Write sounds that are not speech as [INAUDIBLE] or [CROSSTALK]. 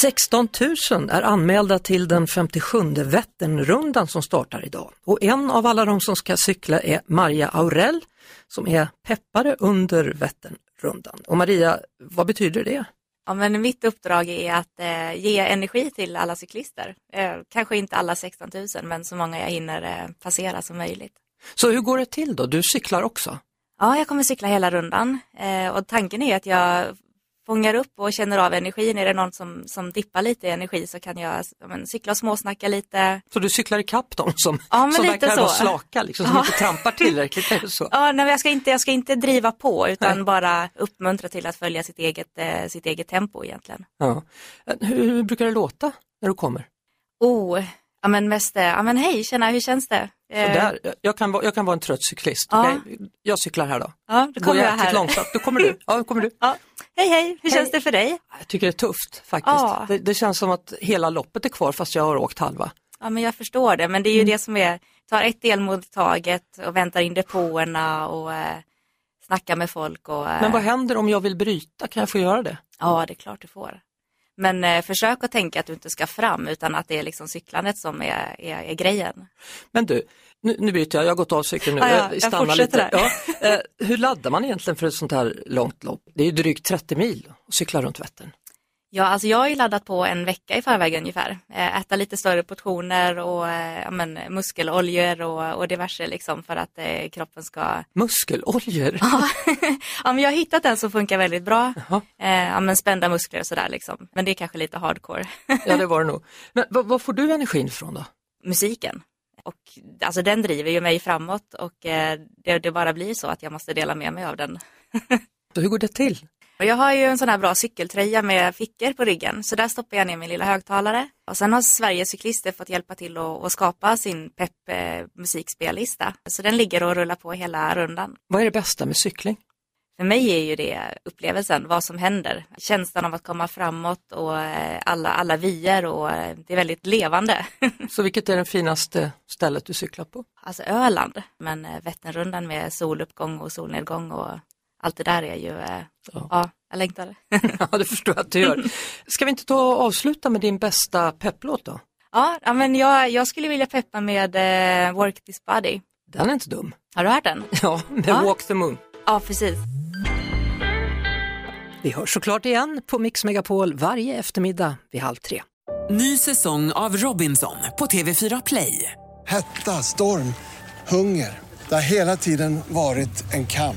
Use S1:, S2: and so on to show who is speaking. S1: 16 000 är anmälda till den 57 Vätternrundan som startar idag och en av alla de som ska cykla är Maria Aurell som är peppare under Vätternrundan. Och Maria, vad betyder det?
S2: Ja, men mitt uppdrag är att eh, ge energi till alla cyklister. Eh, kanske inte alla 16 000 men så många jag hinner eh, passera som möjligt.
S1: Så hur går det till då? Du cyklar också?
S2: Ja, jag kommer cykla hela rundan eh, och tanken är att jag fångar upp och känner av energin. Är det någon som, som dippar lite i energi så kan jag ja, men, cykla och småsnacka lite.
S1: Så du cyklar ikapp dem som,
S2: Ja, men
S1: som
S2: lite
S1: verkar
S2: så.
S1: vara slaka, liksom, som
S2: Ja.
S1: inte trampar tillräckligt? Är det så?
S2: Ja, nej, men jag, ska inte, jag ska inte driva på utan bara uppmuntra till att följa sitt eget, eh, sitt eget tempo egentligen.
S1: Ja. Eh, Hur, hur brukar det låta när du kommer?
S2: Oh, ja men mest, eh, ja men hej, tjena, hur känns det? Eh,
S1: Sådär, jag- jag, kan vara, jag kan vara en trött cyklist.
S2: Ja.
S1: okej? Jag cyklar här då.
S2: Ja, då
S1: Går
S2: kommer jag
S1: jäkligt
S2: här.
S1: långsamt. Då kommer
S2: [LAUGHS]
S1: du. Ja, då kommer du.
S2: Ja. Hej, hej, hur känns det för dig?
S1: Jag tycker det är tufft faktiskt.
S2: Ja.
S1: Det, det känns som att hela loppet är kvar fast jag har åkt halva.
S2: Ja men jag förstår det, men det är ju det som är, tar ett delmål i taget och väntar in depåerna och eh, snackar med folk och... Eh,
S1: Men vad händer om jag vill bryta? Kan jag få göra det?
S2: ja det är klart du får. Men eh, försök att tänka att du inte ska fram utan att det är liksom cyklandet som är, är, är grejen.
S1: Men du, nu, nu byter jag, jag har gått av cykeln nu.
S2: Ja, ja, jag fortsätter
S1: Ja, eh, hur laddar man egentligen för ett sånt här långt lopp? Det är ju drygt 30 mil att cykla runt Vättern.
S2: Ja, alltså jag har ju laddat på en vecka i förväg ungefär. Eh, Äta lite större portioner och eh, ja, men, muskeloljor och, och diverse liksom för att eh, kroppen ska... [LAUGHS]
S1: Muskeloljor?
S2: Ja, men jag har hittat en som funkar väldigt bra.
S1: Jaha.
S2: Eh, ja, men spända muskler och sådär liksom. Men det är kanske lite hardcore. [LAUGHS]
S1: Ja, det var det nog. Men vad, vad får du energin ifrån då?
S2: musiken. Och alltså den driver ju mig framåt och eh, det, det bara blir så att jag måste dela med mig av den.
S1: Så hur går det till?
S2: Och jag har ju en sån här bra cykeltröja med fickor på ryggen så där stoppar jag ner min lilla högtalare. Och sen har Sveriges cyklister fått hjälpa till att, att skapa sin pepp eh, musikspellista. Så den ligger och rullar på hela rundan.
S1: Vad är det bästa med cykling?
S2: För mig är ju det upplevelsen, vad som händer. Känslan av att komma framåt och eh, alla, alla vyer och eh, det är väldigt levande. [LAUGHS]
S1: Så vilket är det finaste stället du cyklar på? [LAUGHS]
S2: alltså Öland, men eh, Vätternrundan med soluppgång och solnedgång och allt det där är ju, eh,
S1: Ja.
S2: ja, jag längtar. [LAUGHS]
S1: Ja, det förstår jag att du gör. Ska vi inte ta och avsluta med din bästa pepplåt då?
S2: ja, ja, men jag, jag skulle vilja peppa med eh, Work This Body.
S1: Den är inte dum.
S2: Har du hört den?
S1: Ja, med
S2: Ja.
S1: Walk the Moon.
S2: Ja, precis.
S1: Vi hörs såklart igen på Mix Megapol varje eftermiddag vid halv tre.
S3: Ny säsong av Robinson på TV4 Play.
S4: Hetta, storm, hunger. Det har hela tiden varit en kamp.